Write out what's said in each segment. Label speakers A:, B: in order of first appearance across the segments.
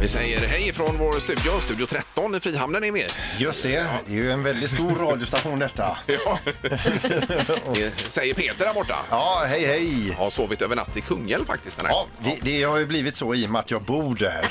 A: Vi säger hej från vår studio, Studio 13 i Frihamnen är med.
B: Just det, det är ju en väldigt stor radiostation detta.
A: Ja. Det säger Peter där borta.
B: Ja, hej hej!
A: Har sovit över natt i Kungälv faktiskt den här
B: Ja,
A: gången.
B: det, det har ju blivit så i och med att jag bor där.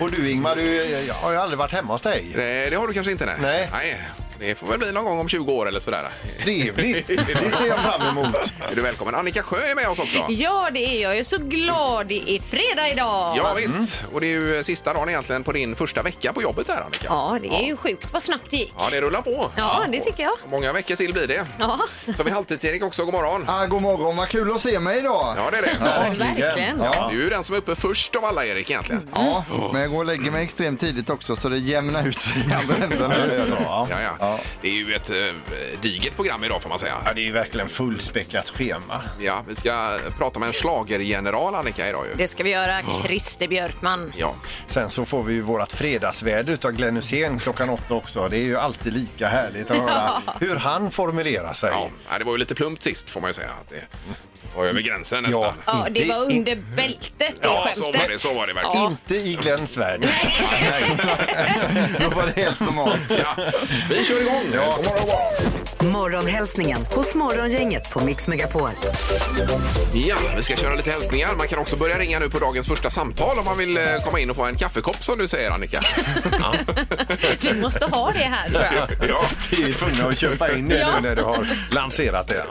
B: Och du Ingmar, du, jag har ju aldrig varit hemma hos dig.
A: Nej, det har du kanske inte? Nej.
B: Nej.
A: Det får väl bli någon gång om 20 år eller sådär.
B: Trevligt, det ser jag fram emot.
A: Är du välkommen. Annika Sjö är med oss också.
C: Ja, det är jag. Jag är så glad. Det är fredag idag.
A: Ja, visst. Och det är ju sista dagen egentligen på din första vecka på jobbet där Annika.
C: Ja, det är ju sjukt vad snabbt det gick.
A: Ja, det rullar på.
C: Ja, det tycker jag.
A: Många veckor till blir det.
C: Ja,
A: Så vi Halvtids-Erik också, god morgon.
D: Ah, god morgon, vad kul att se mig idag.
A: Ja, det är det.
C: verkligen.
A: Du är ju den som är uppe först av alla Erik egentligen.
D: Ja, men jag går och lägger mig extremt tidigt också så det jämnar ut sig. i andra änden.
B: Ja,
A: Ja, ja. Det är ju ett eh, digert program idag får man säga.
B: det är ju verkligen fullspäckat schema.
A: Ja, vi ska prata med en schlagergeneral Annika idag ju.
C: Det ska vi göra. Christer Björkman.
A: Ja,
B: Sen så får vi ju vårt fredagsväder utav Glenn Hussein klockan åtta också. Det är ju alltid lika härligt att höra hur han formulerar sig.
A: ja. Nej, det var ju lite plumpt sist får man ju säga. Att det var över gränsen nästan. Ja,
C: Ja, det
B: Inte-
C: var under bältet, det
A: ja
C: skämtet.
A: så var det. Så var det verkligen. Ja.
B: Inte i Glens värld.
D: Då var det helt normalt.
A: Vi kör igång. Ja. God morgon, god morgon.
E: Morgonhälsningen hos Morgongänget på Mix Megapol.
A: ja, vi ska köra lite hälsningar. Man kan också börja ringa nu på dagens första samtal om man vill eh, komma in och få en kaffekopp som du säger Annika.
C: Vi måste ha det här. tror jag.
A: ja.
B: Vi är ju tvungna att köpa in det nu när du har lanserat det.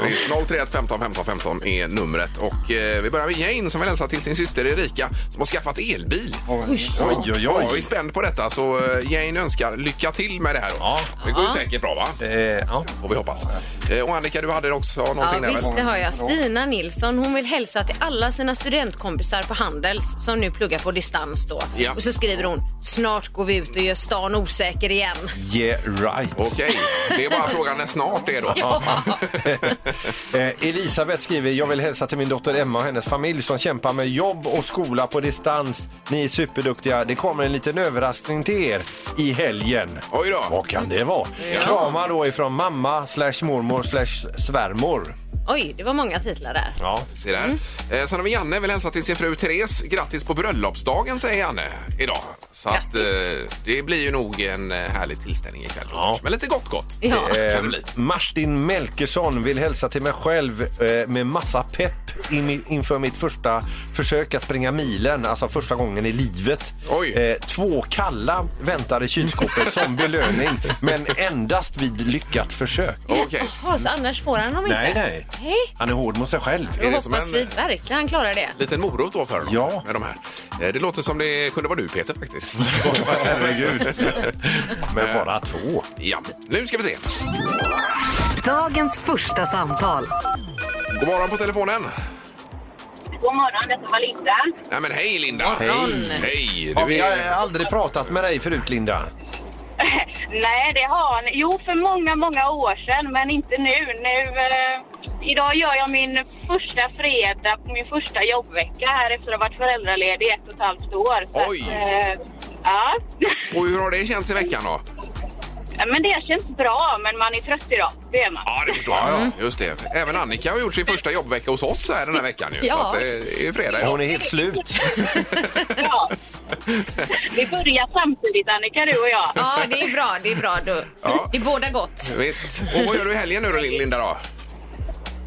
A: 031 15 15 15 är numret. Och eh, vi börjar med Jane som vill hälsa till sin syster Erika som har skaffat elbil.
B: Oj, oj,
A: Ja, jag är
B: oj.
A: spänd på detta så eh, Jane önskar lycka till med det här. då.
B: Ja.
A: Det går ju säkert bra va?
B: Eh, ja.
A: Får vi hoppas. Eh, Och Annika, du hade också
C: Ja,
A: någonting där
C: visst,
A: väl?
C: det har jag. Stina Nilsson hon vill hälsa till alla sina studentkompisar på Handels som nu pluggar på distans. Då.
A: Ja.
C: Och så skriver hon snart går vi ut och gör stan osäker igen.
B: Yeah right.
A: Okej, det är bara frågan när snart det är då.
B: Eh, Elisabeth skriver, jag vill hälsa till min dotter Emma och hennes familj som kämpar med jobb och skola på distans. Ni är superduktiga. Det kommer en liten överraskning till er i helgen.
A: Oj då.
B: Vad kan det vara? Kramar då ifrån mamma slash mormor slash svärmor.
C: Oj, det var många titlar där.
B: Ja. Mm.
A: Se där. Eh, Sen har vi Janne, vill hälsa till sin fru Therese. Grattis på bröllopsdagen säger Janne idag. Så att, eh, det blir ju nog en eh, härlig tillställning ikväll.
B: Ja.
A: Men lite gott gott
C: Ja.
A: kan det
B: Eh,
A: bli.
B: Martin Melkersson vill hälsa till mig själv eh, med massa pepp in, i- inför mitt första försök att springa milen, alltså första gången i livet.
A: Oj.
B: Eh, två kalla väntar i kylskåpet som belöning, men endast vid lyckat försök.
A: Okej,
C: Jaha, så annars får han dem inte?
B: Nej, nej.
C: Hej.
B: Han är hård mot sig själv.
C: Då
A: Är det som
C: hoppas
A: en-
C: vi verkligen han klarar det.
A: liten morot då för honom.
B: Ja.
A: Med de här. Eh, Det låter som det kunde vara du Peter faktiskt.
B: Herregud. Men bara två.
A: ja, nu ska vi se.
E: Dagens första samtal.
A: God morgon på telefonen.
F: God morgon, detta var Linda.
A: Nej men hej Linda!
B: Hej.
A: Hej!
B: Ja,
A: Du
B: vi har
A: är...
B: aldrig pratat med dig förut, Linda.
F: Nej, det har ni. Jo, för många, många år sedan, men inte nu. nu eh, idag gör jag min första fredag på min första jobbvecka här efter att ha varit föräldraledig i ett och ett halvt år. Så
A: Oj.
F: Att, eh, ja.
A: Och hur har det känts i veckan då?
F: men det känns bra, men man är trött idag. Det är man.
A: Ja, det förstår jag.
C: Mm.
A: Just det. Även Annika har gjort sin första jobbvecka hos oss här den här veckan. Ju.
C: Ja.
A: Så att det är fredag
B: Hon
A: idag.
B: är helt slut.
F: Ja. Vi börjar samtidigt, Annika, du och jag.
C: Ja, det är bra. Det är bra. Då.
A: Ja.
C: Det är båda gott.
A: Visst. Och vad gör du i helgen nu då, Linda? Då?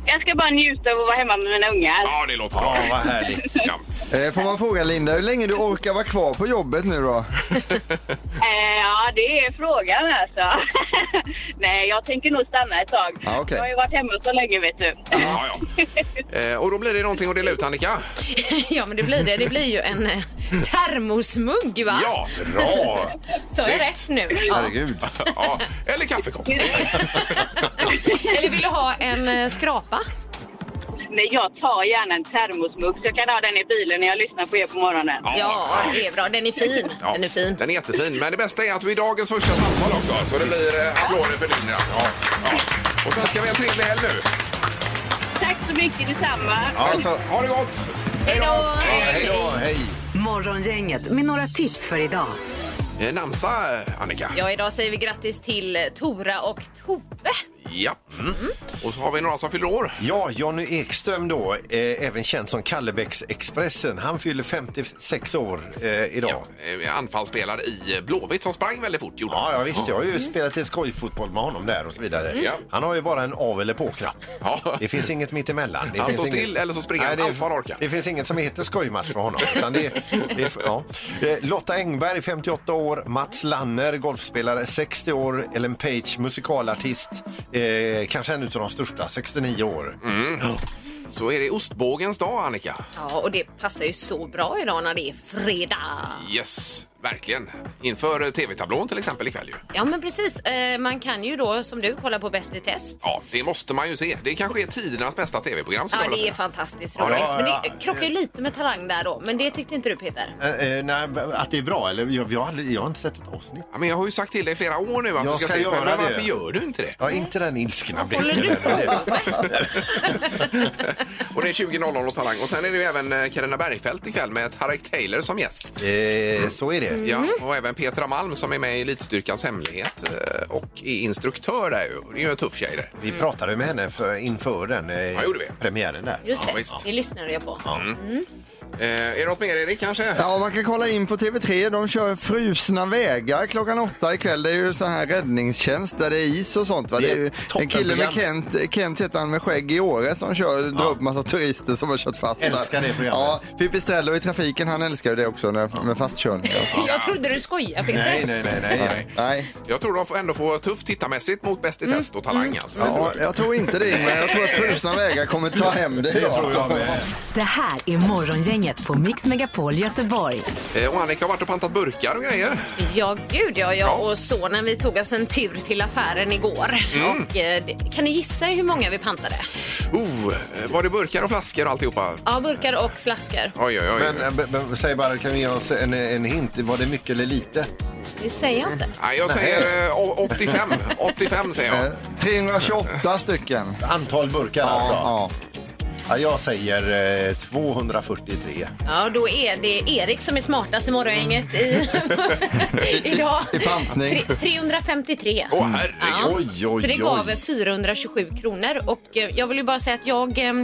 F: Jag ska bara njuta av att vara hemma med mina ungar.
A: Ja, det låter bra.
B: Ja, vad härligt.
A: Ja.
D: Eh, får man fråga Linda hur länge du orkar vara kvar på jobbet nu då?
F: Eh, ja, det är frågan alltså. Nej, jag tänker nog stanna ett tag.
D: Ja, okej.
F: Jag har ju varit hemma så länge, vet du.
A: Ja, ja. Eh, Och då blir det någonting att dela ut, Annika?
C: Ja, men det blir det. Det blir ju en eh, termosmugg, va?
A: Ja, bra!
C: Sa jag
A: snyggt.
C: rätt nu? Ja.
D: Herregud.
A: Ja. Eller kaffekopp.
C: Eller vill du ha en eh, skrapa?
F: Nej, jag tar gärna en termosmugg så jag kan ha den i bilen när jag lyssnar på er på morgonen.
C: Ja, det är bra. Den är fin.
A: Ja,
C: Den är fin.
A: Den är jättefin. Men det bästa är att du är dagens första samtal också. Så det blir eh, applåder för Linda. Ja. Ja. Och så önskar vi en trevlig helg nu.
F: Tack så mycket, detsamma.
A: Alltså, ha det gott!
C: Hej då!
A: Ja, hej då!
B: Hej.
E: Morgongänget med några tips för idag.
A: Eh, Namnsdag, eh, Annika.
C: Ja, idag säger vi grattis till eh, Tora och Tove.
A: Ja. Mm. Och så har vi några som fyller år.
B: Ja, Jonny Ekström då, eh, även känd som Kallebäcksexpressen. Han fyller 56 år eh, idag. Ja.
A: Eh, Anfallsspelare i eh, Blåvitt som sprang väldigt fort. Gjorde Mm.
B: Ja,
A: han. Mm.
B: visst. Jag har ju spelat lite skojfotboll med honom där och så vidare.
A: Ja.
B: Han har ju bara en av eller på-knapp.
A: Ja.
B: Det finns inget mittemellan. Det
A: Han
B: finns
A: står
B: inget-
A: still eller så springer han
B: det,
A: allt vad han orkar.
B: Det finns inget som heter skojmatch för honom. Utan det, det, ja. Eh, Lotta Engberg, 58 år. Mats Lanner, golfspelare, 60 år. Ellen Page, musikalartist. Eh, kanske en utav de största, 69 år.
A: Mm. Så är det ostbågens dag, Annika.
C: Ja, och det passar ju så bra idag när det är fredag.
A: Yes, verkligen. Inför eh, tv-tablån till exempel ikväll ju.
C: Ja, men precis. Eh, Man kan ju då, som du, kolla på Bäst i test.
A: Ja, det måste man ju se. Det kanske är tidernas bästa tv-program skulle
C: Ja,
A: jag vilja
C: det är
A: säga.
C: fantastiskt
B: Ja,
C: roligt.
B: ja,
C: Men
B: ja.
C: det krockar ju lite med Talang där då. Men det tyckte inte du, Peter.
B: Eh, eh, nej, att det är bra? Eller? Jag, jag, har aldrig- jag har inte sett ett avsnitt.
A: Ja, men jag har ju sagt till dig i flera år nu att
B: Jag
A: du ska,
B: ska
A: se på
B: göra
A: Men
B: det.
A: varför gör du inte det?
B: Ja, inte den ilskna blicken.
C: Håller du på
B: eller?
A: Och det är 20.00 och Talang. Och sen är det ju även eh, Carina Bergfeldt ikväll med Tarek Taylor som gäst.
B: Eh, så är det.
A: Ja, och även Petra Malm som är med i Elitstyrkans hemlighet eh, och är instruktör där ju. Och Det är ju en tuff tjej det.
B: Vi pratade med henne för, inför den eh,
A: Ja, gjorde vi.
B: premiären där.
C: Just
A: Ja,
C: det,
A: visst.
C: det lyssnade jag på. Mm.
A: Eh, är det något mer Erik kanske?
D: Ja, man kan kolla in på TV3. De kör Frusna vägar klockan åtta ikväll. Det är ju så här räddningstjänst där det är is och sånt. Va?
B: Det
D: Det
B: är
D: är ju en kille med
B: toppenprogram.
D: Kent, Kent heter han med skägg i året som kör, drar upp massa turister som har kört fast. där.
B: Älskar det programmet.
D: Ja, Pipistrello i trafiken, han älskar ju det också när, med fastkörning.
C: Jag trodde du skojade, Peter.
B: Nej, nej, nej. nej.
D: Nej,
A: Jag tror de får ändå få tufft tittarmässigt mot Bäst
C: Mm.
A: i test och Talang alltså.
D: ja, jag tror inte det Ingmar. Jag tror att Frusna vägar kommer ta hem det idag.
E: Det här är Morgongänget på Mix Megapol Göteborg.
A: Eh, och Annika har varit och pantat burkar och grejer.
C: Ja, gud ja. Jag och sonen vi tog oss en tur till affären igår. Och, eh, det- kan ni gissa hur många vi pantade?
A: Oh, eh, var det burkar och flaskor och alltihopa?
C: Ja, burkar och flaskor.
A: Oj, oj, oj.
B: Men, eh, b- b- säg bara, kan vi ge oss en, en hint? Var det mycket eller lite?
C: Det säger jag inte.
A: Nej, jag säger eh, å- 85. 85 säger jag.
D: Eh, 328 stycken.
B: Antal burkar alltså?
D: Ja,
B: Ja, jag säger eh, 243.
C: Ja, då är det Erik som är smartast i morgongänget i, idag.
D: I pantning.
C: Tre- 353.
A: Åh, herregud.
C: Ja.
B: Oj, oj,
C: Så det
B: oj.
C: gav 427 kronor. Och eh, jag vill ju bara säga att jag eh,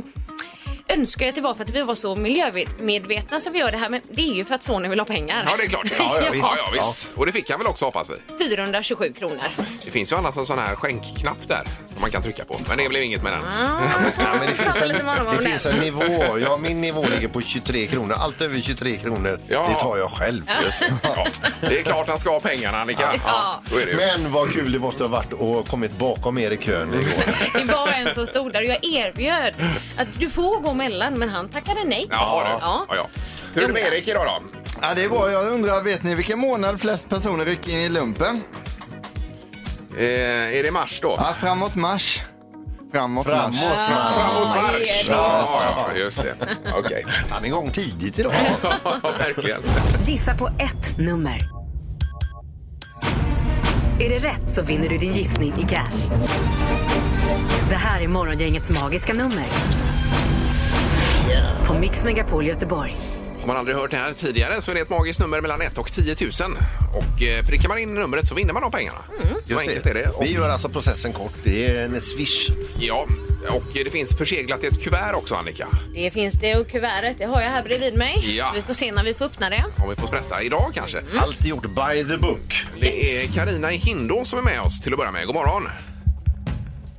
C: önskar att det var för att vi var så miljömedvetna som vi gör det här. Men det är ju för att sonen vill ha pengar.
A: Ja, det är klart.
C: Ja, ja,
A: ja, ja, visst. Och det fick han väl också hoppas vi.
C: 427 kronor.
A: Det finns ju annars en sån här skänkknapp där som man kan trycka på. Men det blev inget med den.
B: Ja, men det finns
C: Prata
B: en,
C: lite med honom om
B: det
C: det.
B: finns en nivå. Ja, min nivå ligger på 23 kronor. Allt över 23 kronor,
A: Ja.
B: det tar jag själv.
A: Ja, det är klart han ska ha pengarna Annika. Ja. Så är det ju.
B: Men vad kul det måste ha varit att kommit bakom er i kön igår.
C: Det var en som stod där och jag erbjöd att du får gå mellan, men han tackade nej.
A: Jaha, du.
C: Ja.
A: Ja, ja. Hur är det med Erik idag då?
D: Ja, det är bra. Jag undrar, vet ni vilken månad flest personer rycker in i lumpen?
A: Eh, är det mars då?
D: Ja, framåt mars. Framåt,
B: Framåt,
D: mars.
B: framåt.
A: Framåt
C: Ja, det är
A: mars!
C: det.
A: Ja, ja, ja, just det. Okej.
B: Han är igång tidigt idag.
A: Ja, verkligen.
E: Gissa på ett nummer. Är det rätt så vinner du din gissning i cash. Det här är Morgongängets magiska nummer. På Mix Megapol Göteborg.
A: Om man aldrig hört det här tidigare så är det ett magiskt nummer mellan 1 och 10 000. Och eh, prickar man in numret så vinner man de pengarna. Så enkelt är det. Och,
B: Vi gör alltså processen kort. Det är en swish.
A: ja, och det finns förseglat i ett kuvert också Annika.
C: Det finns det och kuvertet, det har jag här bredvid mig.
A: Ja.
C: Så vi får se när vi får öppna det.
A: Om vi får sprätta idag kanske.
B: Mm. Allt gjort by the book.
A: Det är Karina i Hindå som är med oss till att börja med. God morgon!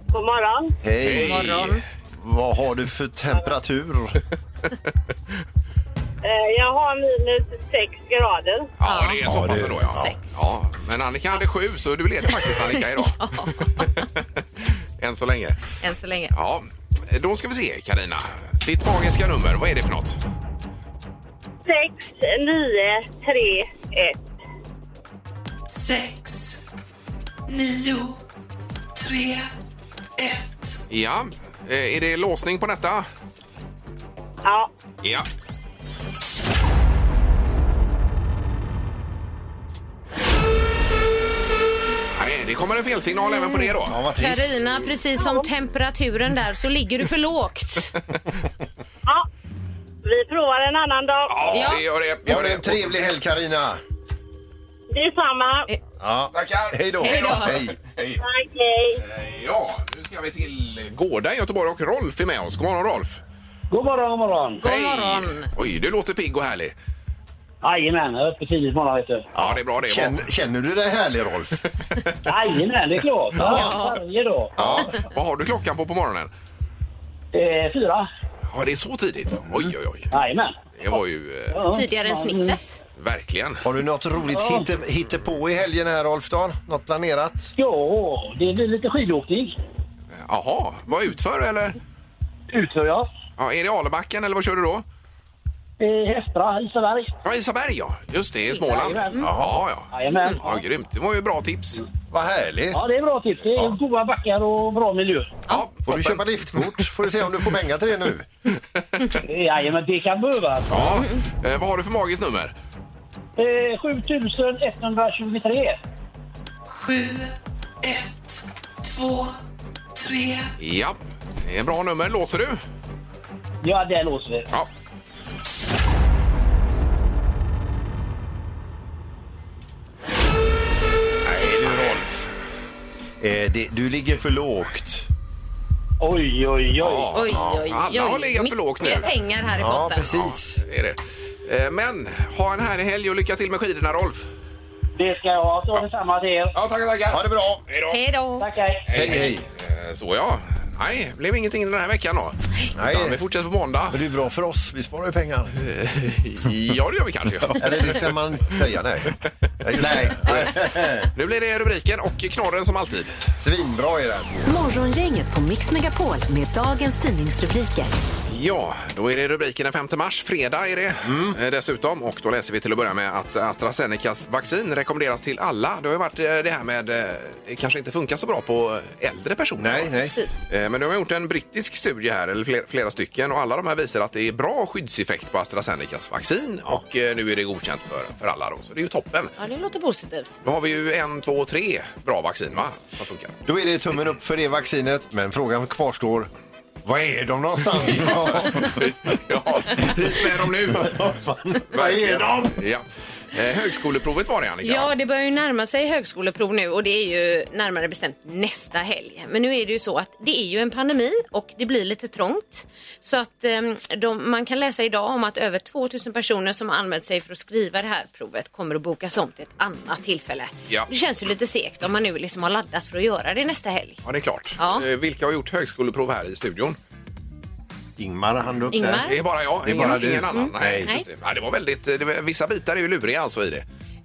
F: God morgon.
B: Hej!
C: God morgon.
B: Vad har du för temperatur?
F: Eh, Jag har minus sex grader.
A: Ja,
C: Ja.
A: det är
B: Ja,
A: så pass
B: det-
A: ändå. Ja.
C: Sex.
A: Ja. Men Annika hade sju, så du leder faktiskt Annika idag. Än så länge.
C: Än så länge.
A: Ja, då ska vi se Karina. Ditt magiska nummer, vad är det för något?
F: Sex, nio, tre, ett.
G: sex, nio, tre, ett.
A: Ja, eh, är det låsning på detta?
F: Ja.
A: Ja. Ja, det- Det kommer en felsignal även på det då.
B: Mm. Ja, vad trist.
C: Karina, precis som temperaturen där så ligger du för lågt.
F: ja. Vi vi provar en annan dag.
A: Ja,
C: Ja.
A: vi gör det.
B: Ha en trevlig helg Karina.
F: Detsamma.
B: Ja.
A: Tackar.
B: Hej då.
C: Hej då.
B: Hej.
A: Hej.
F: Tack, hej.
A: Ja, nu ska vi till Gårda i Göteborg och Rolf är med oss. God morgon Rolf!
H: God morgon, god morgon.
C: God morgon.
A: Oj, du låter pigg och härlig.
H: Jajamän, jag är uppe tidigt morgon vet du.
A: Ja, det är bra det.
B: Känner, känner du dig härlig Rolf?
H: Jajamän, det är klart. Ja. Varje dag.
A: Ja. Vad har du klockan på på morgonen?
H: Eh, fyra.
A: Ja, det är så tidigt? Oj, oj, oj.
H: Jajamän.
A: Det var ju eh,
H: Ja.
C: Tidigare än snittet.
A: verkligen.
B: Har du något roligt hitte, hittepå i helgen här Rolf? Dahl? Något planerat?
H: Ja, det blir lite skidåkning.
A: Jaha, vad utför eller?
H: Utför jag.
A: Ja, är det Alebacken eller vad kör du då?
H: Eh, Hästra, Isaberg.
A: Ja, Isaberg ja. Just det, i Småland. Jaha, ja.
H: Jajamän. Mm.
A: Ja, grymt. Det var ju bra tips.
B: Vad härligt.
H: Ja, det är bra tips. Det är goda backar och bra miljö.
A: Ja,
B: Får du köpa liftkort? Får vi se om du får pengar till det nu.
H: Eh, Jajamän, det kan behövas.
A: Ja. Eh, vad har du för magiskt nummer?
H: Eh, 7123.
G: 7, 1, 2, 3,
A: Ja, det är en bra nummer. Låser du?
H: Ja, det låser vi.
A: Ja. Nej du Rolf.
B: Eh, det, du ligger för lågt.
H: Oj, oj, oj.
A: Ja,
C: Oj,
A: ja.
C: oj, oj.
A: Alla har legat för lågt nu.
C: Mycket pengar här i
B: Ja,
C: potten.
B: precis.
A: Det är det. Eh, Men ha en härlig helg och lycka till med skidorna Rolf.
H: Det ska jag ha. Så detsamma till er.
A: Ja, tackar, tackar. Ha det bra. Hej då.
C: Hej då.
H: Tack, hej.
B: Hej, hej.
A: Eh, Så ja. Nej, det blev ingenting den här veckan då.
B: Nej.
A: Utan vi fortsätter på måndag. Eh,
B: Men det är bra för oss. Vi sparar ju pengar.
A: Ja, det gör vi kanske.
B: Eller det ska man säga nej. Nej.
A: Nu blir det rubriken och knorren som alltid.
B: Svinbra är den.
E: Morgongänget på Mix Megapol med dagens tidningsrubriker.
A: Ja, då är det rubriken den 5 mars, fredag är det
B: Mm.
A: eh, dessutom. Och då läser vi till att börja med att AstraZenecas vaccin rekommenderas till alla. Det har ju varit eh, det här med, eh, det kanske inte funkar så bra på eh, äldre personer.
B: Nej, nej.
A: Eh, Men de har gjort en brittisk studie här, eller flera, flera stycken, och alla de här visar att det är bra skyddseffekt på AstraZenecas vaccin och eh, nu är det godkänt för, för alla då, så det är ju toppen.
C: Ja, det låter positivt.
A: Nu har vi ju en, två, tre bra vaccin va, som funkar.
B: Då är det tummen upp för det vaccinet, men frågan kvarstår. Var är de någonstans?
A: ja, hit med dem nu!
B: Var är de?
A: Ja. Eh, högskoleprovet var det Annika.
C: Ja, det börjar ju närma sig högskoleprov nu och det är ju närmare bestämt nästa helg. Men nu är det ju så att det är ju en pandemi och det blir lite trångt. Så att ehm, de, man kan läsa idag om att över 2000 personer som har anmält sig för att skriva det här provet kommer att bokas om till ett annat tillfälle.
A: Ja.
C: Det känns ju lite segt om man nu liksom har laddat för att göra det nästa helg.
A: Ja, det är klart.
C: Ja.
A: Eh, Vilka har gjort högskoleprov här i studion?
B: Ingmar hann upp
C: Ingmar?
A: Det är bara jag,
B: Det är
A: ingen,
B: bara du.
A: ingen annan.
B: Mm.
A: Nej,
C: Nej.
A: just det. Ja, det var väldigt, eh, det var, vissa bitar är ju luriga alltså i det. Eh,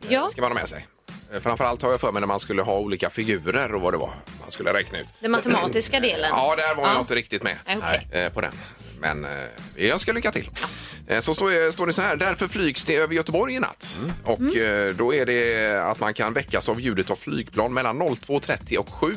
C: Ja.
A: ska man ha med sig. Eh, Framförallt har jag för mig när man skulle ha olika figurer och vad det var man skulle räkna ut.
C: Den matematiska delen.
A: Ja, där var jag
C: Ja.
A: inte riktigt med
C: Nej, okej.
A: eh, på den. Men eh, jag ska lycka till. Eh, Så står, står det så här, därför flygs det över Göteborg i natt.
C: Mm.
A: Och eh, då är det att man kan väckas av ljudet av flygplan mellan 02.30 och 7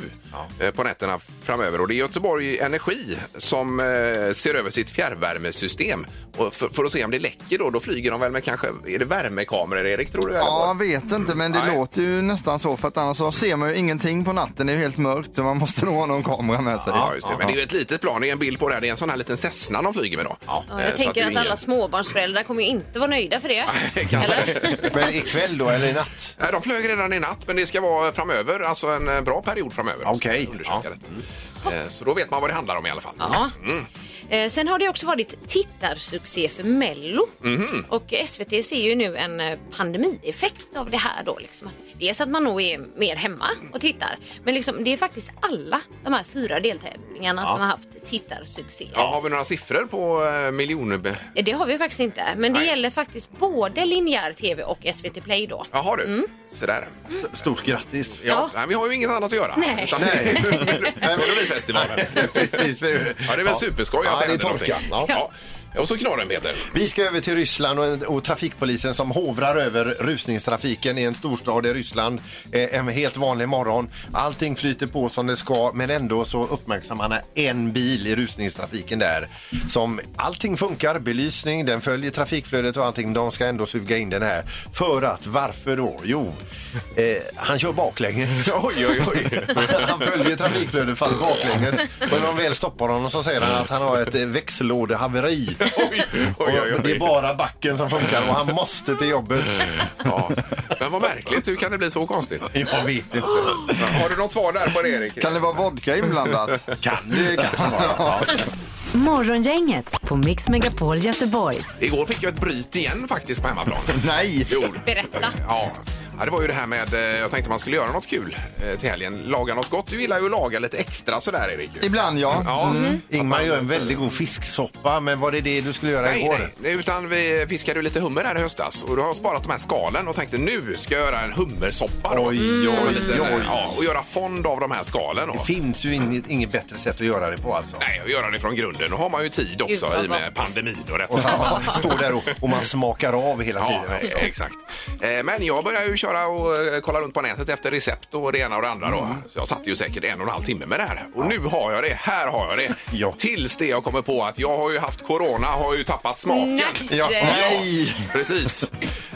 A: eh, på nätterna framöver. Och det är Göteborg Energi som eh, ser över sitt fjärrvärmesystem. Och för, för att se om det läcker då, då flyger de väl med kanske, är det värmekameror Erik tror du? eller
D: Ja,
A: vad?
D: jag vet inte, men det
A: Nej.
D: låter ju nästan så för att annars så ser man ju ingenting på natten. Det är ju helt mörkt så man måste nog ha någon kamera med sig.
A: Ja, just det. Men det är ju ett litet plan. Det är en bild på det här. Det är en sån här liten Cessna de flyger med då. Eh,
C: Ja,
A: så
C: jag
A: det
C: tänker
A: är
C: att,
A: ingen-
C: alla småbarnsföräldrar kommer ju inte vara nöjda för det.
A: Kanske.
B: Men ikväll då, eller i natt?
A: Nej, de flög redan i natt, men det ska vara framöver, alltså en eh, bra period framöver.
B: Okej.
A: Ja. Eh, Så då vet man vad det handlar om i alla fall. Mm.
C: Ja. Eh, Sen har det också varit tittarsuccé för Mello.
A: Mhm.
C: Och SVT ser ju nu en eh, pandemieffekt av det här. Då, liksom. Dels att man nog är mer hemma och tittar. Men liksom, det är faktiskt alla de här fyra deltävlingarna som har haft tittarsuccé.
A: Ja, har vi några siffror på eh, miljoner?
C: Eh, Det har vi faktiskt inte. Men det
A: Nej.
C: gäller faktiskt både linjär tv och SVT Play då.
A: Jaha du,
C: Mm.
A: så där.
B: Stort grattis.
A: Ja, Nej, vi har ju inget annat att göra.
C: Nej.
A: Utan
B: Nej.
A: Melodifestivalen.
B: Precis.
A: Ja, det är väl superskoj
B: Ja,
A: att
B: det är
A: händer
B: torka.
A: någonting.
B: Ja.
A: Ja. Och så knorren Peter.
B: Vi ska över till Ryssland och, och trafikpolisen som hovrar över rusningstrafiken i en storstad i Ryssland eh, en helt vanlig morgon. Allting flyter på som det ska men ändå så uppmärksammar man en bil i rusningstrafiken där. Som allting funkar, belysning, den följer trafikflödet och allting. De ska ändå suga in den här. För att varför då? Jo, eh, han kör baklänges.
A: Oj, oj, oj.
B: Han följer trafikflödet fast baklänges. Och när de väl stoppar honom så säger han att han har ett eh, växellådehaveri
A: Oj, oj, oj,
B: Och Det är
A: oj.
B: bara backen som funkar och han måste till jobbet.
A: Ja. Men vad märkligt, hur kan det bli så konstigt?
B: Jag vet inte.
A: Har du något svar där på det, Erik?
D: Kan det vara vodka inblandat?
B: Kan det kan vara. Ja.
E: Morgongänget på Mix Megapol Göteborg.
A: Igår fick jag ett bryt igen faktiskt på hemmaplan.
D: Nej!
A: Jo.
C: Berätta.
A: Ja. ja, det var ju det här med, eh, jag tänkte man skulle göra något kul eh, till helgen. Laga något gott. Du gillar ju att laga lite extra sådär, Erik. ju.
D: Ibland ja.
A: Ja.
B: Mm.
A: Mm.
B: Ingmar gör en väldigt god fisksoppa, men var det det du skulle göra
A: Nej,
B: igår?
A: nej, utan vi fiskade ju lite hummer här i höstas och då har jag sparat de här skalen och tänkte nu ska jag göra en hummersoppa då.
B: Oj,
A: Som en
B: oj,
A: liten, eh,
B: oj.
A: Ja, och göra fond av de här skalen.
B: Det
A: Då.
B: finns ju inget, inget bättre sätt att göra det på alltså.
A: Nej, och göra det från grunden. Då har man ju tid också
C: vad
A: i och med
C: gott.
A: pandemin och detta.
B: Och så man står där och, och man smakar av hela
A: Ja,
B: tiden.
A: eh, exakt. Eh, Men jag började ju köra och eh, kolla runt på nätet efter recept och det ena och det andra.
B: Mm.
A: Då. Så jag satt ju säkert en och en halv timme med det här. Och nu har jag det, här har jag det.
B: Ja.
A: Tills det jag kommer på att jag har ju haft corona, har ju tappat smaken.
C: Ja.
D: Nej!
A: Precis.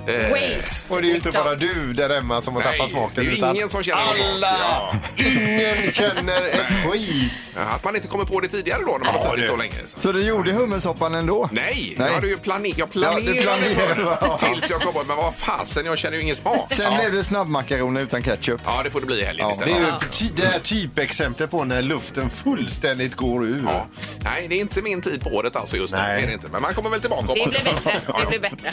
A: Eh,
C: Waste.
B: Och det är ju inte
C: liksom.
B: bara du där hemma som har
A: Nej,
B: tappat smaken.
A: det är ju
B: utan
A: ingen som känner någon smak.
B: Alla!
A: Ja.
B: Ingen känner ett skit.
A: Att man inte kommer på det tidigare då när man
B: Ja,
A: har suttit
B: det-
A: så länge. Så.
D: Så du gjorde hummersoppan ändå?
A: Nej,
D: Nej.
A: Jag, hade ju plane- jag
D: Ja,
A: planerade
D: du planerade,
A: för det tills jag kom på men vad fasen, jag känner ju ingen smak.
D: Sen
A: ja.
D: blev det snabbmakaroner utan ketchup.
A: ja, det får det bli i helgen
D: Ja,
B: Det
A: istället.
B: är ju ty- det här typexemplet på när luften fullständigt går ur.
A: Ja. Nej, det är inte min tid på året alltså just nu.
B: Nej.
A: Det är det inte. Men man kommer väl tillbaka
C: Det blir
A: hoppas jag.
C: bättre.
A: Ja,
C: Det
A: ja.
C: blir bättre.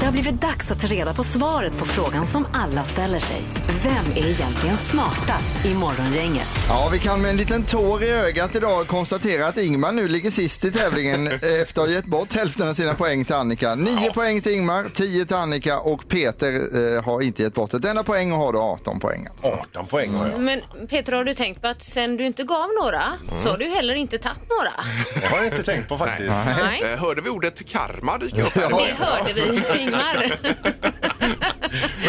E: Det har blivit dags att ta reda på svaret på frågan som alla ställer sig. Vem är egentligen smartast i Morgongänget?
D: Ja, vi kan med en liten tår i ögat idag konstatera att Ingmar nu ligger sist i tävlingen eh, efter att ha gett bort hälften av sina poäng till Annika. Nio poäng till Ingmar, tio till Annika och Peter eh, har inte gett bort ett enda poäng och har då 18 poäng. Alltså.
B: 18 poäng har jag.
C: Men Peter, har du tänkt på att sen du inte gav några så har du heller inte tagit
A: Mm,
C: några?
B: Det har jag inte tänkt på faktiskt.
C: Nej.
A: Eh, Hörde vi ordet karma dyka upp här? i
C: Det
A: början?
C: hörde vi, Ingmar.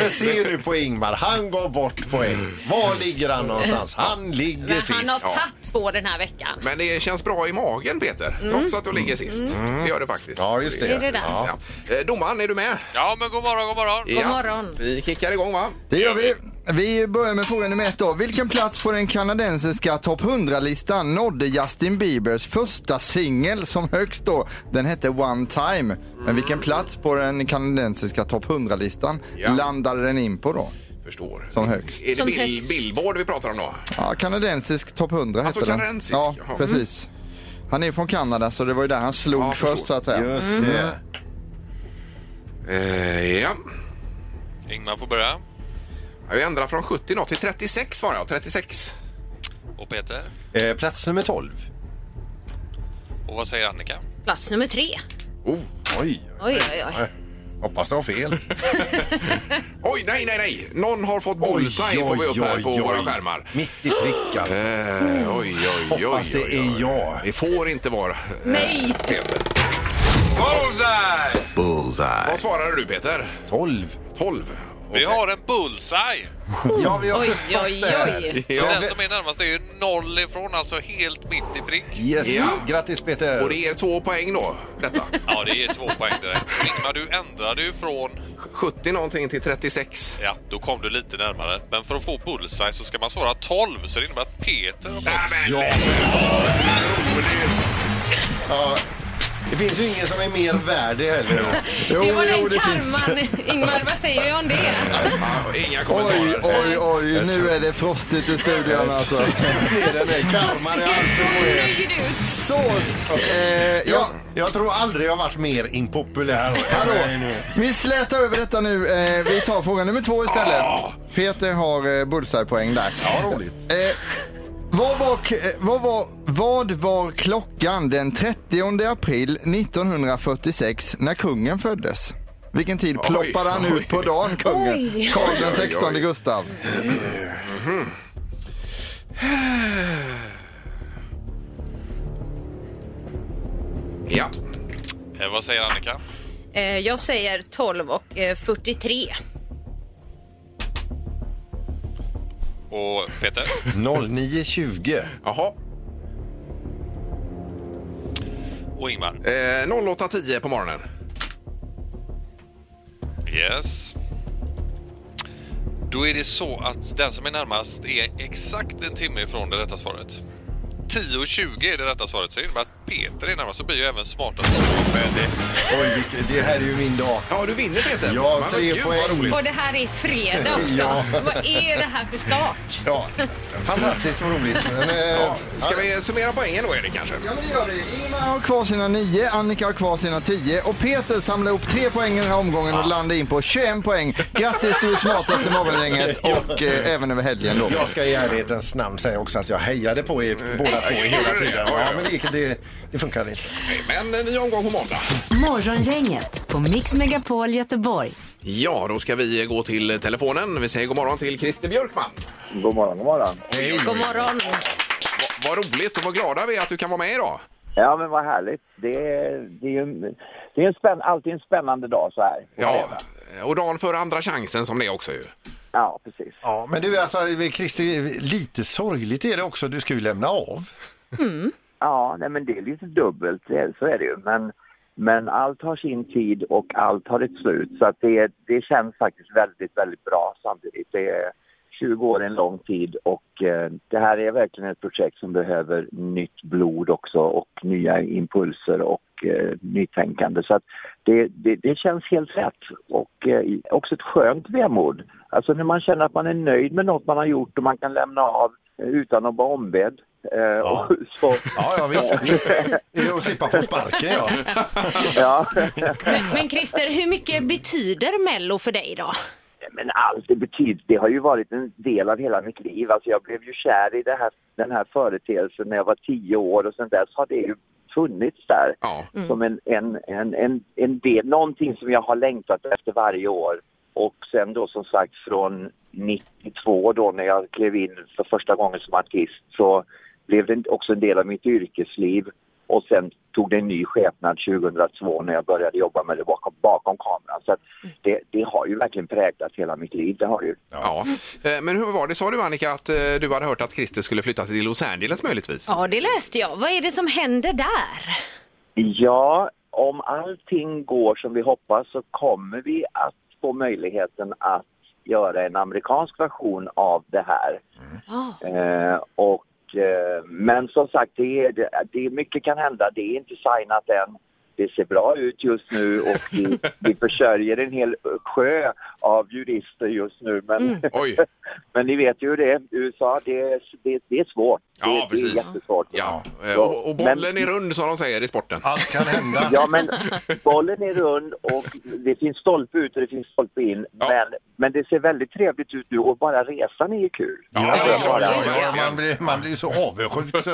B: Men ser du på Ingmar, han går bort poäng. Var ligger han någonstans? Han ligger
C: Men han har
B: sist.
C: tagit två den här veckan.
A: Men det känns bra i magen, Peter, trots att du ligger sist. Det gör det faktiskt.
B: Ja, just det.
C: Mm. Är det där?
A: Ja. Eh, Domaren, är du med?
G: Ja, men god morgon, god morgon.
A: God
C: morgon.
A: Vi kickar igång, va?
D: Det gör vi. Vi börjar med fråga nummer ett då. Vilken plats på den kanadensiska topp 100-listan nådde Justin Biebers första singel som högst då? Den hette One Time. Men vilken plats på den kanadensiska topp 100-listan
A: Ja.
D: landade den in på då?
A: Förstår.
D: Som högst.
A: Är det
C: Som
A: bil-
C: högst.
A: Billboard vi pratar om då?
D: Ja, kanadensisk topp 100 hette
A: Alltså
D: den.
A: kanadensisk,
D: Ja,
A: jaha.
D: precis. Han är från Kanada så det var ju där han slog
A: Ja, förstår.
D: först så att säga. Mm.
B: Just det.
A: Eh, ja.
G: Ingmar får börja.
A: Jag ändrar från 70 nå till 36 var jag. 36.
G: Och Peter.
B: Eh, plats nummer 12.
G: Och vad säger Annika?
C: Plats nummer tre.
B: Oh, oj.
C: Oj, oj, oj.
B: Hoppas det var fel.
A: Oj, nej, nej, nej! Någon har fått bullseye får vi upp här på
B: oj,
A: våra
B: oj.
A: skärmar.
B: Mitt i prick alltså.
A: Eh, oj, oj, oj, oj,
B: Hoppas det
A: oj,
B: är jag.
A: Det får inte vara... eh,
C: Nej.
A: Peter.
G: Bullseye!
A: Vad svarade du, Peter?
B: 12.
A: 12?
G: Vi har en bullseye!
B: Ja, vi har
C: Oj,
B: förstått
C: oj,
B: det här.
C: oj.
A: Ja,
G: Den som är närmast är ju noll ifrån, alltså helt mitt i prick.
B: Yes.
A: Ja.
B: Grattis
A: Och
B: Peter.
A: det ger två poäng då, detta.
G: Ja, det är två poäng direkt. Ingmar, du ändrade ju från
A: 70 någonting till 36.
G: Ja, då kom du lite närmare. Men för att få bullseye så ska man svara 12, så det innebär att Peter har fått...
A: Ja.
B: Det finns ju ingen som är mer värd heller.
C: Det var
D: jo,
C: den
D: det finns
C: karman. Ingmar, vad säger vi om det?
A: Inga
D: Oj,
A: kommentarer.
D: oj, oj, nu är det frostigt i studion alltså.
B: Det är den där
C: Han
B: karman i
C: ser
B: allt som
C: så
B: är.
C: nöjd ut.
D: Sås! Eh, ja,
B: Ja, jag tror aldrig jag varit mer impopulär.
D: Hallå. Vi slätar över detta nu. Eh, vi tar fråga nummer två istället. Peter har eh, bullseye-poäng där.
B: Ah. Ja, roligt.
D: Eh, vad, var, k- eh, vad, var, vad var klockan den 30 april 1946 när kungen föddes? Vilken tid
A: Oj,
D: ploppade han
A: oj.
D: ut på dagen, kungen?
C: Oj.
D: Karl den
A: Oj, oj,
D: 16
A: oj.
D: Gustav.
B: Mm-hmm.
A: Ja.
G: Eh, vad säger Annika?
C: Eh, Jag säger 12 och eh, 43.
G: Och Peter?
B: 09.20.
A: Jaha.
G: Och Ingmar?
A: Eh, 08.10 på morgonen.
G: Yes. Då är det så att den som är närmast är exakt en timme ifrån det rätta svaret. 10.20 är det rätta svaret, så det innebär att Peter är närmast så blir ju även smartast.
B: Men det, oj, vilket- det här är ju min dag.
A: Ja, du vinner Peter!
B: Ja,
A: Men
B: tre
A: gud,
B: poäng.
A: vad roligt.
C: Och det här är fredag också.
B: Ja.
C: Vad är det här för start?
B: Ja, fantastiskt vad roligt. Men, eh,
A: Ja, ska vi summera poängen då, Erik, kanske?
D: Ja, men det gör vi. Ingmar har kvar sina 9, Annika har kvar sina 10 och Peter samlar ihop tre poäng i den här omgången
B: Ah.
D: och landar in på 21 poäng. Grattis, du är smartast i morgongänget och eh, även över helgen då.
B: Jag ska i ärlighetens namn säga också att jag hejade på er båda två hela tiden. Ja, men det, gick- det, det funkade inte.
A: Men en ny omgång på måndag.
E: Morgongänget på Mix Megapol Göteborg.
A: Ja, då ska vi gå till telefonen. Vi säger god morgon till Christer Björkman.
I: God morgon, god morgon.
C: God morgon.
A: Va- Vad roligt och vad glada vi är att du kan vara med idag.
I: Ja, men vad härligt. Det är, det är, ju en- det är en spänn, alltid en spännande dag så här.
A: Eh, Och dagen före andra chansen som det är också ju.
I: Ja, precis.
B: Ja, men du, alltså, Christer, lite sorgligt är det också. Du ska ju lämna av.
I: Mm. Ja, nej, men det är lite dubbelt, det, så är det ju. Men, men allt har sin tid och allt har ett slut. Så att det, det känns faktiskt väldigt, väldigt bra samtidigt. Det är 20 år är en lång tid och eh, det här är verkligen ett projekt som behöver nytt blod också och nya impulser och eh, nytänkande. Så att det, det, det känns helt rätt och eh, också ett skönt vemod. Alltså när man känner att man är nöjd med något man har gjort och man kan lämna av eh, utan att vara ombedd. Eh, och så,
B: Ja, ja visst. Eh, Och slippa få sparken, ja.
I: Ja,
C: Men, men Christer, hur mycket betyder Mello för dig då?
I: men allt det betyder, det har ju varit en del av hela mitt liv. Alltså jag blev ju kär i det här, den här företeelsen när jag var tio år och sen dess har det ju funnits där.
A: Ja.
E: Mm.
I: Som en, en, en, en, en del, någonting som jag har längtat efter varje år. Och sen då som sagt från 92 då när jag klev in för första gången som artist så blev det också en del av mitt yrkesliv. Och sen tog det en ny skepnad 2002 när jag började jobba med det bakom, bakom kameran. Så att det, det har ju verkligen präglat hela mitt liv, det har ju.
A: Ja. Eh, Men hur var det, sa du Annika, att eh, du hade hört att Christer skulle flytta till Los Angeles möjligtvis?
C: Ja, det läste jag. Vad är det som händer där?
I: Ja, om allting går som vi hoppas så kommer vi att få möjligheten att göra en amerikansk version av det här. Eh, och, eh, men som sagt, det är, det, det är mycket kan hända. Det är inte signat än. Det ser bra ut just nu och vi, vi försörjer en hel sjö av jurister just nu. Men,
A: Oj,
I: men ni vet ju hur det är. USA, det, är- det, det är svårt.
A: Ja,
I: det, det
A: precis.
I: är jättesvårt.
A: ja. Eh,
I: Ja,
A: Och, och bollen
I: men-
A: är rund som de säger i sporten.
B: Allt kan hända.
I: Ja, men bollen är rund och det finns stolpe ut och det finns stolpe in.
A: Ja.
I: Men, men det ser väldigt trevligt ut nu och bara resan är ju kul. Alltså,
A: Ja,
B: Ja, ja, ja,
A: verkligen.
B: man blir ju man blir ju så avundsjuk. Så...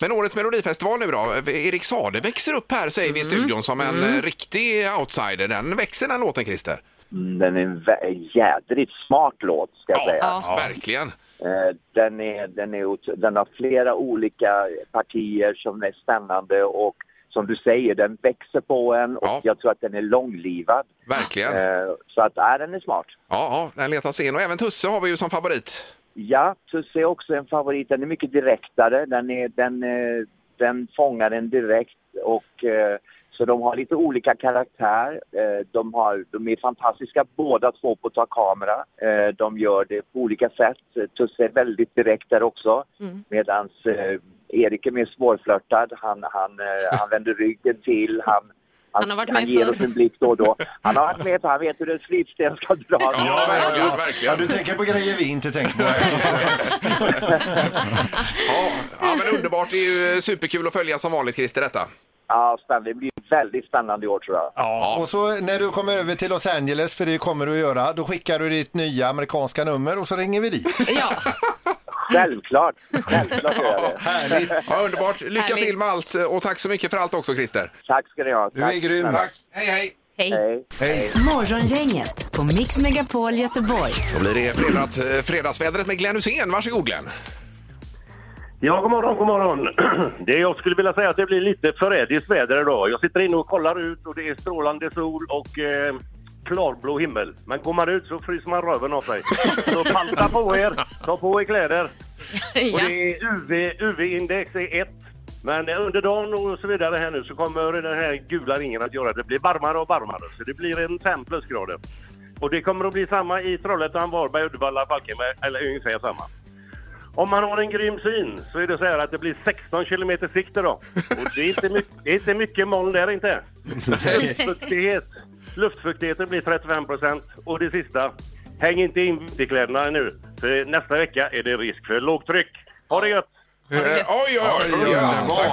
A: Men årets melodifestival nu då, Eh, Erik Sade växer upp här säger
B: Mm.
A: vi i studion som en eh, riktig outsider. Den växer den låten Christer.
I: Mm, Den är en vä- jädrigt smart låt, ska jag säga.
A: verkligen.
I: Eh, Den, är, den, är, ot- den har flera olika partier som är spännande och som du säger, den växer på en och
A: Ja.
I: jag tror att den är långlivad.
A: Verkligen. Ja,
I: Eh, Så att, äh, den är smart.
A: ja, den letar sig in. Och även Tusse har vi ju som favorit.
I: Ja, Tusse är också en favorit. Den är mycket direktare. Den, är, den, eh, den fångar en direkt. Och, eh, så de har lite olika karaktär. Eh, De, har, de är fantastiska båda två på att ta kamera. Eh, De gör det på olika sätt. Tusse är väldigt direkt där också. Medan Erik är mer svårflörtad. Han, han, eh, han vänder ryggen till. Han,
C: Han har varit med
I: han ger
C: förr.
I: oss en blick då och då. Han har varit med för han vet hur en slipsten ska dras.
A: Ja, verkligen.
B: Ja,
A: verkligen.
B: du tänker på grejer vi inte tänker på.
A: Ja, ja, men underbart. Det är ju superkul att följa som vanligt Christer detta.
I: Ja, spännande. Det blir väldigt spännande i år tror jag.
B: Ja. Och så när du kommer över till Los Angeles, för det kommer du att göra, då skickar du ditt nya amerikanska nummer och så ringer vi dit.
C: Ja,
I: Självklart, självklart gör jag det.
B: Härligt!
A: Ja, underbart. Lycka
C: Härligt.
A: till med allt och tack så mycket för allt också Christer.
I: Tack ska ni ha.
B: Du är grym.
A: Hej, hej.
C: hej.
I: Hej.
E: Morgongänget på Mix Megapol Göteborg.
A: Då blir det fredags, eh, fredagsvädret med Glenn Hussein. Varsågod Glenn.
J: Ja, god morgon, god morgon. Det jag skulle vilja säga att det blir lite förrädiskt väder idag. Jag sitter inne och kollar ut och det är strålande sol och eh, klarblå himmel. Men går man ut så fryser man röven av sig. Så panta på er, ta på er kläder. Och
C: Ja.
J: det är UV, UV-index är 1. Men under dagen och så vidare här nu så kommer den här gula ringen att göra att det blir varmare och varmare. Så det blir en 5 plusgrader. Och det kommer att bli samma i Trollhättan, Varberg, Uddevalla, Falkenberg, eller ungefär samma. Om man har en grym syn så är det så här att det blir 16 kilometer sikt idag. Och det är inte mycket, det är inte mycket moln där inte. Luftfuktighet. Luftfuktigheten blir 35 procent. Och det sista, häng inte in vinterkläderna nu. För nästa vecka är det risk för lågtryck. Ha det gött!
A: Eh, Oj, oj, oj!
B: Oj, oj,
A: Underbart.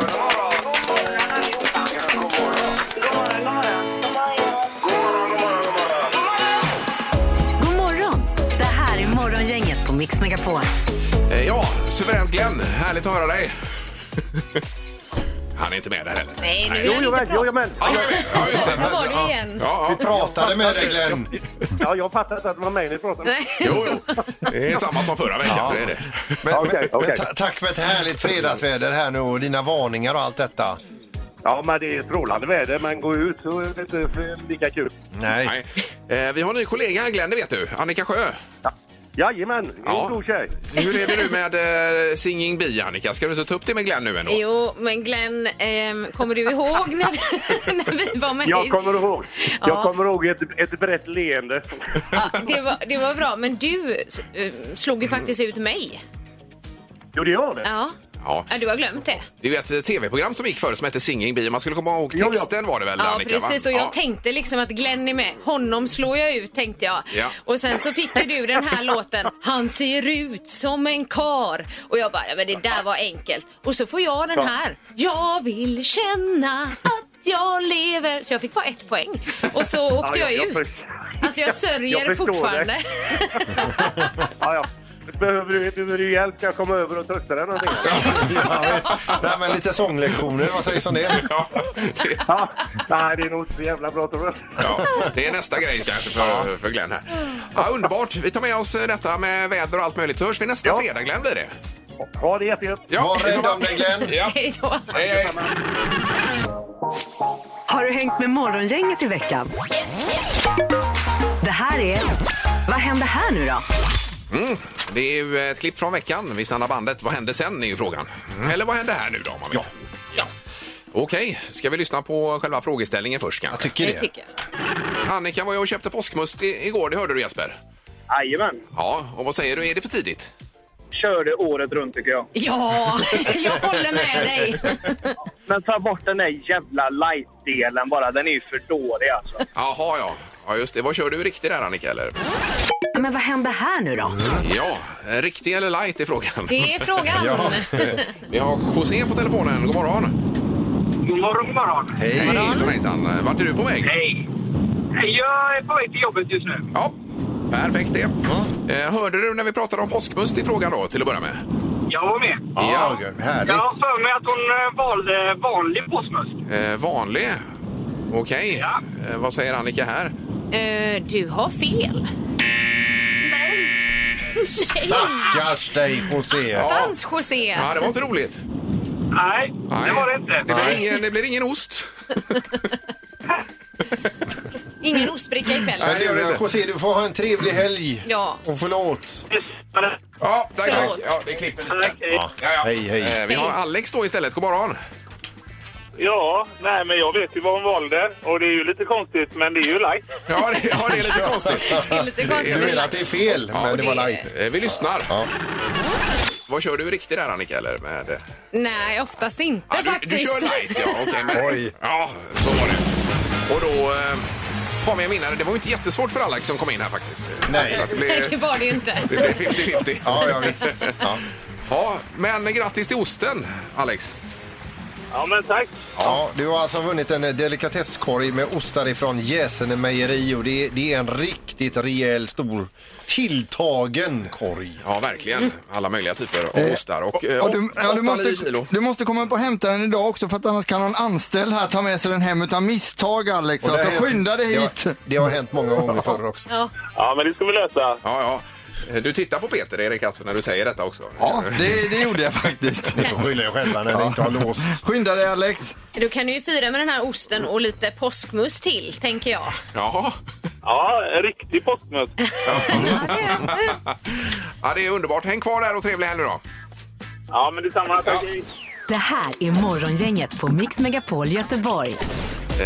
B: oj.
E: God morgon! Det här är Morgongänget på Mix Megapol.
A: Eh, Ja, suveränt Glenn. Härligt att höra dig. Han är inte med där heller.
C: Nej, nu
J: Jo,
C: är
J: jo,
C: jag inte
J: jo,
C: bra.
J: jo, men.
A: Ja, jag är med. Ja, just
C: Där
A: det.
C: var du igen.
A: Ja, ja.
B: Pratade med dig Glenn.
J: Ja, jag fattar inte att det var mig ni pratade med.
A: Jo, jo. Det är samma som förra veckan. Det är det.
B: Men,
J: Okej,
B: men,
J: okej.
B: ta- tack för ett härligt fredagsväder här nu och dina varningar och allt detta.
J: Ja, men det är strålande väder, men gå ut så är det inte för- lika kul.
B: Nej.
A: Nej. Eh, Vi har en ny kollega här Glenn, det vet du. Annika Sjö.
J: Jajamän, det är
A: Ja.
J: en god tjej.
A: Hur är det nu med eh, Singing Bee, Annika? Ska du inte ta upp det med Glenn nu ändå?
C: Jo, men Glenn, ehm, kommer du ihåg när vi, när vi var med
J: Jag
C: i-
J: kommer ihåg,
C: Ja.
J: jag kommer ihåg ett, ett brett leende.
C: Ja, det, var, det var bra, men du eh, slog ju faktiskt ut mig.
J: Jo, det gör det.
C: Ja.
A: Ja.
C: Ja, du har glömt det.
A: Det är ju ett eh, tv-program som gick förut som hette Singing Bee. Man skulle komma ihåg
J: Jo, ja.
A: texten var det väl
C: Ja,
A: Annika? va?
C: precis. Och jag
A: Ja.
C: tänkte liksom att Glenn är med. Honom slår jag ut, tänkte jag.
A: Ja.
C: Och sen så fick ju du den här låten. Han ser ut som en kar. Och jag bara, ja, men det där var enkelt. Och så får jag den här. Jag vill känna att jag lever. Så jag fick bara ett poäng. Och så åkte
J: Ja,
C: jag,
J: jag- jag
C: ut.
J: förstår-
C: Alltså jag sörjer
J: jag förstår
C: fortfarande.
J: Ja, ja. Behöver du, behöver du hjälp ska jag komma över och trösta dig någonting.
B: Ja, visst. Nej, men lite sånglektioner, vad sägs om det?
J: Ja. Nej, det är nog inte så jävla bra tror jag.
A: Ja, det är nästa grej kanske för, för Glenn här. Ja, underbart. Vi tar med oss eh, detta med väder och allt möjligt. Så hörs vi nästa
J: Ja.
A: fredag Glenn blir det.
J: Ha det jättegött.
A: Ja,
B: Var rädd
A: detsamma.
B: om dig Glenn.
A: Ja.
C: Hej då.
A: Hej, hej.
E: Har du hängt med Morgongänget i veckan? Det här är... Vad händer här nu då?
A: Mm. Det är ju ett klipp från veckan. Vi stannar bandet. Vad händer sen är ju frågan. Eller vad händer här nu då? Om man vill. Ja. ja. Okej, ska vi lyssna på själva frågeställningen först kanske?
B: Tycker
C: Det
B: det.
C: tycker jag.
A: Annika var ju och köpte påskmust i- igår, det hörde du Jesper?
H: Jajamän.
A: Ja, och vad säger du, är det för tidigt?
H: Kör det året runt tycker jag.
C: Ja, jag håller med dig.
H: Men ta bort den där jävla light-delen bara. Den är ju för dålig alltså.
A: Jaha, ja. Ja, just det. Vad kör du riktigt där Annika, eller?
E: Men vad händer här nu då?
A: Ja, eh, riktig eller light är frågan.
C: Det är frågan.
B: Ja.
A: Vi har José på telefonen. God morgon!
H: God morgon, god morgon.
A: Hej! Hejsan, hejsan. Vart är du på väg?
H: Hej. Hej, jag är på väg till jobbet just nu.
A: Ja, perfekt det. Eh, hörde du när vi pratade om påskmust i frågan då, till att börja med?
H: Jag var med.
B: Ja, härligt.
H: Jag har för mig att hon eh, valde vanlig påskmust.
A: Eh, vanlig. Okej. Eh, vad säger Annika här?
C: Eh, du har fel. Nej. Nej.
B: Stackars dig José.
C: Dans, José.
A: Ja, det var inte roligt.
H: Nej, det var det inte.
A: Det blir ingen, det blir ingen ost.
C: Ingen ostbricka ikväll.
B: Men
A: Nej, det gör det
B: du,
A: inte.
B: José, du får ha en trevlig helg.
C: Ja.
B: Och förlåt.
A: Ja, tack, tack.
C: Förlåt.
A: Ja, det klipper lite.
H: Tack, hej.
A: Ja, ja.
B: Hej, hej.
A: Eh, vi har Alex då istället. God morgon!
H: Ja, nej men jag vet ju vad hon valde. Och det är ju lite konstigt, men det är ju light.
A: Ja, det, ja, det är lite konstigt.
C: Det är lite
B: Du
C: konstigt.
B: menar att det är fel, men det var
C: det-
B: light.
A: Eh, Vi lyssnar.
B: Ja.
A: Vad kör du riktigt där, Annika? Eller med,
C: Nej, oftast inte
A: Ja, du,
C: faktiskt.
A: du kör light, ja. okej, men,
B: Oj.
A: Ja, så var det. Och då eh, har vi en vinnare. Det var ju inte jättesvårt för Alex som kom in här faktiskt.
B: Nej.
A: Att Det
C: Nej, det
A: blev
C: var det ju inte.
A: det blev 50-50.
B: Ja, ja visst. Ja.
A: Ja, men grattis till osten, Alex.
H: Ja, men tack.
B: Ja, du har alltså vunnit en delikatesskorg med ostar ifrån Jäsene mejeri och det, det är en riktigt rejäl stor tilltagen korg.
A: Ja, verkligen. Alla möjliga typer av ostar. Och, eh,
D: Och du,
A: åt-
D: ja, du,
A: åtta, nio
D: måste,
A: kilo.
D: du måste komma upp och hämta den idag också för att annars kan någon anställd här ta med sig den hem utan misstag Alex.
B: Och det
D: Alltså,
B: har hänt-
D: skynda dig
B: det har-
D: hit!
B: Det har hänt många gånger förr också.
C: Ja.
H: Ja, men det ska vi lösa.
A: Ja, ja. Eh, Du tittar på Peter, Erik, alltså, när du säger detta också.
D: Ja, det, det gjorde jag faktiskt.
B: Ni får skylla er själva när ni inte har låst.
D: Skynda dig Alex!
C: Du kan ju fira med den här osten och lite påskmust till, tänker jag.
A: Jaha.
H: Ja, en riktig påskmust.
A: Ja, det är underbart. Häng kvar där och trevlig helg nu då.
H: Ja, men detsamma. Tack.
E: Det här är Morgongänget på Mix Megapol Göteborg.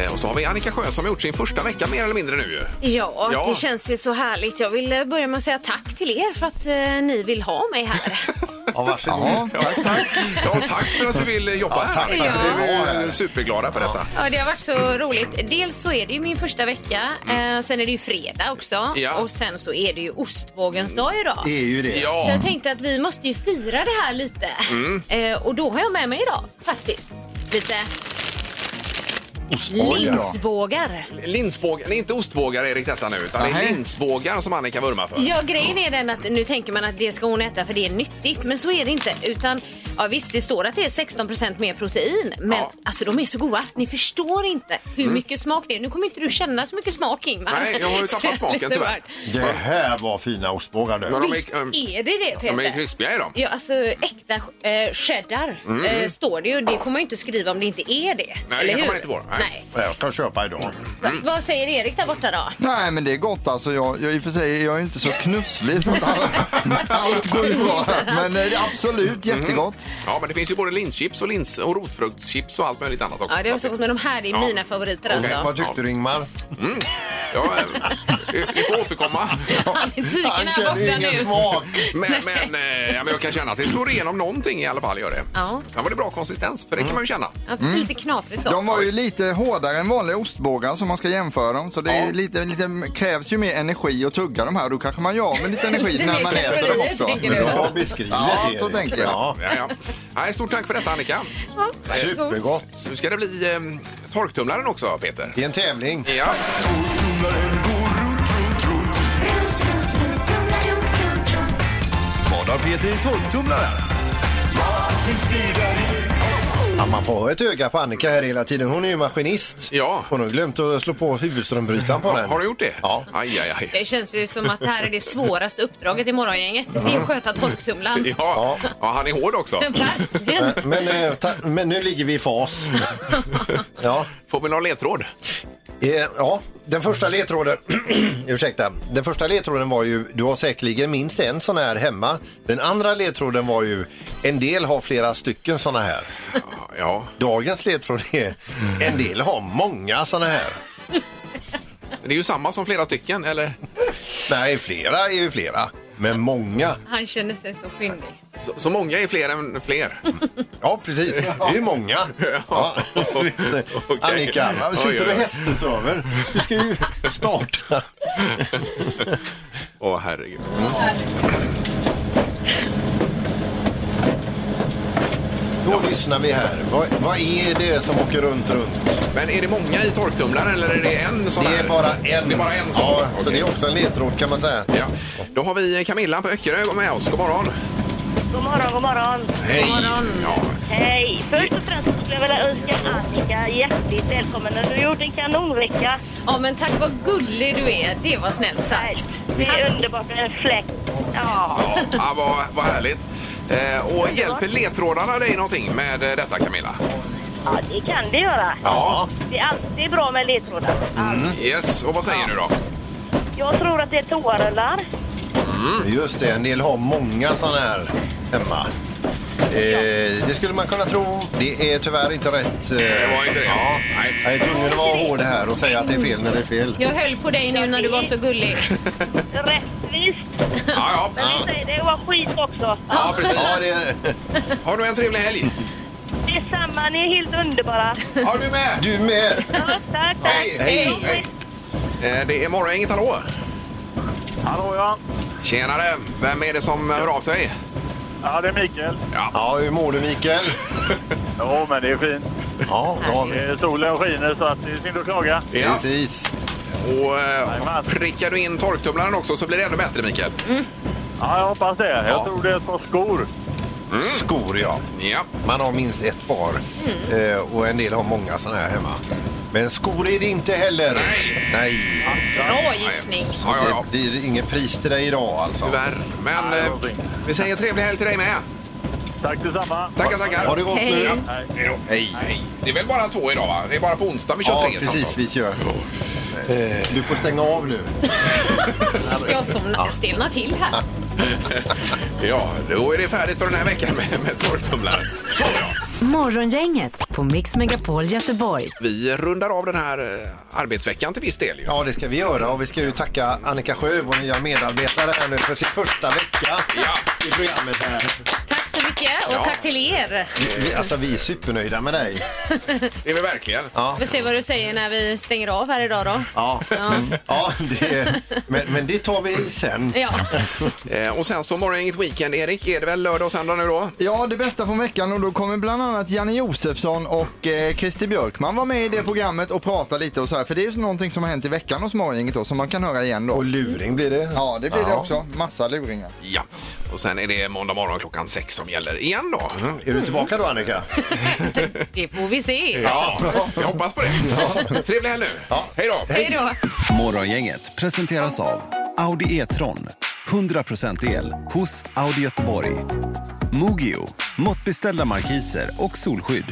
A: Eh, Och så har vi Annika Sjö som har gjort sin första vecka mer eller mindre nu ju.
C: Ja,
A: Ja.
C: det känns ju så härligt. Jag vill eh, börja med att säga tack till er för att eh, ni vill ha mig här.
B: Ja, varsågod.
D: Ja, tack, tack.
A: Ja, tack för att du vill eh, jobba här.
C: för att du
A: Vi
B: vill vara
A: är
B: här.
A: ju superglada för detta.
C: Ja, det har varit så roligt. Dels så är det ju min första vecka, eh, sen är det ju fredag också
A: Mm. Ja.
C: och sen så är det ju ostbågens dag idag.
D: Det är ju det.
C: Så
A: Ja,
C: jag tänkte att vi måste ju fira det här lite.
A: Mm.
C: Eh, och då har jag med mig idag faktiskt lite
D: Oj då.
C: linsbågar.
A: linsbågar, nej inte ostbågar Erik detta nu, utan det är
D: Nej.
A: linsbågar som Annika vurmar för.
C: Ja, grejen är den att nu tänker man att det ska hon äta för det är nyttigt, men så är det inte. Utan, ja visst, det står att det är 16 mer protein, men
A: Ja. Mm.
C: alltså de är så goda. Ni förstår inte hur mycket smak det är. Nu kommer inte du känna så mycket smak, Ingmar.
A: Nej, jag har ju tappat smaken tyvärr.
B: Det här var fina ostbågar du.
A: Men de
C: Visst
A: är, ehm,
C: är det det, Peter?
A: de är krispiga i dem.
C: Ja, alltså äkta eh, cheddar eh, står det ju. Det får man ju inte skriva om det inte är det.
A: Nej,
C: eller
A: det kan
C: hur?
A: man inte vara. Nej.
C: Nej.
B: Jag ska köpa idag. Mm.
C: Va- Vad säger Erik där borta då?
D: Nej, men det är gott alltså. Jag, jag, I och för sig är jag inte så knusslig. Så att alla, allt går ju bra här. Men eh, det är
B: Mhm.
D: absolut jättegott.
A: Mm. Ja, men det finns ju både linschips och, lins och rotfruktschips och allt möjligt annat också.
C: Ja, det är också gott, men de här är
A: Ja.
C: mina favoriter
A: Okej.
C: alltså.
B: Vad tyckte du Ingmar?
A: Mm. Ja, eh, vi- vi får återkomma.
C: Han är tyken här borta
B: ingen
C: nu.
B: smak.
A: Men, men, eh, ja, men jag kan känna att det slår igenom någonting i alla fall. Gör det.
C: Ja.
A: Sen var det bra konsistens, för det kan man ju känna.
C: Ja, precis, lite knaprigt så.
D: De var ju lite hårdare än vanliga ostbågar som man ska jämföra dem. Så det är
A: Ja.
D: lite, lite, krävs ju mer energi att tugga de här. Då kanske man gör av med lite energi
C: Lite
D: när
C: mer
D: man äter dem
C: kalorier,
D: också.
C: tänker
B: Du
C: du?
B: har beskrivit
D: Ja,
B: Erik.
D: så tänker jag.
B: Ja.
A: Ja, ja. Nej, stort tack för detta, Annika.
C: Ja, varsågod.
B: Supergott.
A: Nu ska det bli eh, torktumlaren också, Peter.
B: Det är en tävling.
A: Ja.
K: Vad har Peter i torktumlaren?
B: Ja, man får ha ett öga på Annika här hela tiden. Hon är ju maskinist.
A: Ja.
B: Hon har glömt att slå på huvudströmbrytaren på den.
A: Har du gjort det?
B: Ja.
A: Aj, aj, aj.
C: Det känns ju som att det här är det svåraste uppdraget i morgongänget. Det är att sköta torktumlaren.
A: Ja. ja, han är hård också.
C: Verkligen.
B: Men, eh, ta, men nu ligger vi i fas. Ja,
A: Får vi någon ledtråd?
B: eh, ja den första ledtråden, ursäkta, den första ledtråden var ju, du har säkerligen minst en sån här hemma. Den andra ledtråden var ju, en del har flera stycken såna här.
A: Ja,
B: Dagens ledtråd är, en del har många såna här.
A: det är ju samma som flera stycken, eller?
B: Nej, flera är ju flera, men många.
C: Han känner sig så fyndig.
A: Så, så många är fler än fler.
B: Ja, precis. Det är många. Ja.
A: Okej.
B: Annika, varför
A: Oj,
B: sitter du
A: oj, oj.
B: hästesöver? Du ska ju starta.
A: Åh, herregud. Mm.
B: Då lyssnar vi här. Vad, vad är det som åker runt, runt?
A: Men är det många i torktumlaren eller är det en sån
B: Det
A: här?
B: är bara en.
A: Det är bara en sån?
B: Ja, så
A: Okej.
B: det är också en ledtråd kan man säga.
A: Ja. Då har vi Camilla på Öckerö med oss. God morgon!
F: God morgon, god morgon.
A: Hej! Ja.
F: Hej! Först och främst så skulle jag vilja önska Annika hjärtligt välkommen. Du har gjort en kanonvecka.
C: Ja, men tack vad gullig du är. Det var snällt sagt.
F: Det är
C: Tack.
F: underbart med en fläkt. Ja.
A: Ja, ja, vad, vad härligt. Eh, och hjälper ledtrådarna dig någonting med eh, detta Camilla?
F: ja, det kan det göra.
A: Ja.
F: Det är alltid bra med ledtrådar.
B: Mm.
A: Yes, och vad säger du då?
F: Jag tror att det är toarullar.
A: Mm.
B: Just det, en del har många sådana här hemma. Eh, det skulle man kunna tro. Det är tyvärr inte rätt. Eh,
A: Det var inte det? Ja. Nej.
B: jag är tvungen att vara hård här och säga att det är fel när det är fel.
C: Jag höll på dig nu när du var så gullig.
F: Rättvist.
A: Ja,
F: Men vi
A: ja.
F: säger det var skit också.
A: ja,
B: Ja,
A: precis.
B: det är...
A: Har du en trevlig helg?
F: Detsamma, ni är helt underbara.
A: Har du med?
B: Du med!
F: Ja, tack, tack.
A: Hej, hej, hej. Eh, Det är Morgongänget, hallå!
H: Hallå ja.
A: Tjenare! Vem är det som hör av sig?
H: Ja, det är Mikael.
B: Ja, hur mår du Mikael?
H: Ja, men det är fint.
B: Ja, då har vi.
H: Eh, Solen skiner så att det är synd att klaga.
A: Ja.
B: Precis.
A: Och eh,
H: Jajamän. Mm.
A: prickar du in torktumlaren också så blir det ännu bättre Mikael.
H: Ja, jag hoppas det. Jag
A: Ja.
H: tror det är ett par skor.
B: Skor ja.
A: Mm. Ja.
B: Man har minst ett par
F: Mm.
B: eh, och en del har många sådana här hemma. Men skor är det inte heller.
A: Nej.
B: Nej.
C: Bra gissning.
A: Ja, ja, ja.
B: Det blir ingen pris till dig idag alltså.
A: Tyvärr. Men
H: Nej, det
A: eh,
H: var fint.
A: vi säger trevlig helg till dig med.
H: Tack detsamma.
A: Tackar, tackar.
B: Har det gått
C: Hej.
B: nu?
H: Nej.
B: Hej.
A: Nej, det är väl bara två idag va? Det är bara på onsdag vi kör
B: Ja,
A: tre
B: precis.
A: samtal.
B: Vi kör. Eh, Du får stänga av nu.
C: Jag somnar, jag stelnar till här.
A: Ja, då är det färdigt för den här veckan med, med torktumlaren. Så ja.
E: Morgongänget på Mix Megapol Göteborg.
A: Vi rundar av den här eh, arbetsveckan till viss del. Ju.
B: Ja, det ska vi göra och vi ska ju tacka Annika Sjö, vår nya medarbetare här nu, för sin första vecka i programmet här.
C: Tack så mycket och
A: Ja.
C: tack till er.
B: Vi, alltså, vi är supernöjda med dig.
A: Det är vi verkligen.
C: Vi får se vad du säger när vi stänger av här idag då.
B: Ja, Mm. ja det, men, men det tar vi sen.
C: Ja,
A: Eh, och sen så morgongänget Weekend, Erik, är det väl lördag och söndag nu då?
D: Ja, det bästa från veckan och då kommer bland annat Janne Josefsson och eh, Christer Björkman vara med i det programmet och prata lite och så här. För det är ju så någonting som har hänt i veckan hos Morgongänget då som man kan höra igen då.
B: Och luring blir det.
D: Ja, det blir det också. Massa luringar.
A: Ja. Och sen är det måndag morgon klockan sex som gäller igen då.
B: Mm, Är du tillbaka då, Annika?
C: det får vi se.
A: Ja, jag hoppas på det. Trevlig helg nu. Hej då!
C: Hej då.
K: Morgongänget presenteras av Audi E-tron. 100% el hos Audi Göteborg. Mogio, måttbeställda markiser och solskydd.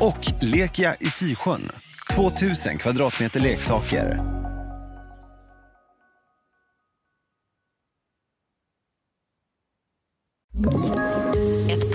K: Och Lekia i Sisjön, 2000 kvadratmeter leksaker.
E: Ett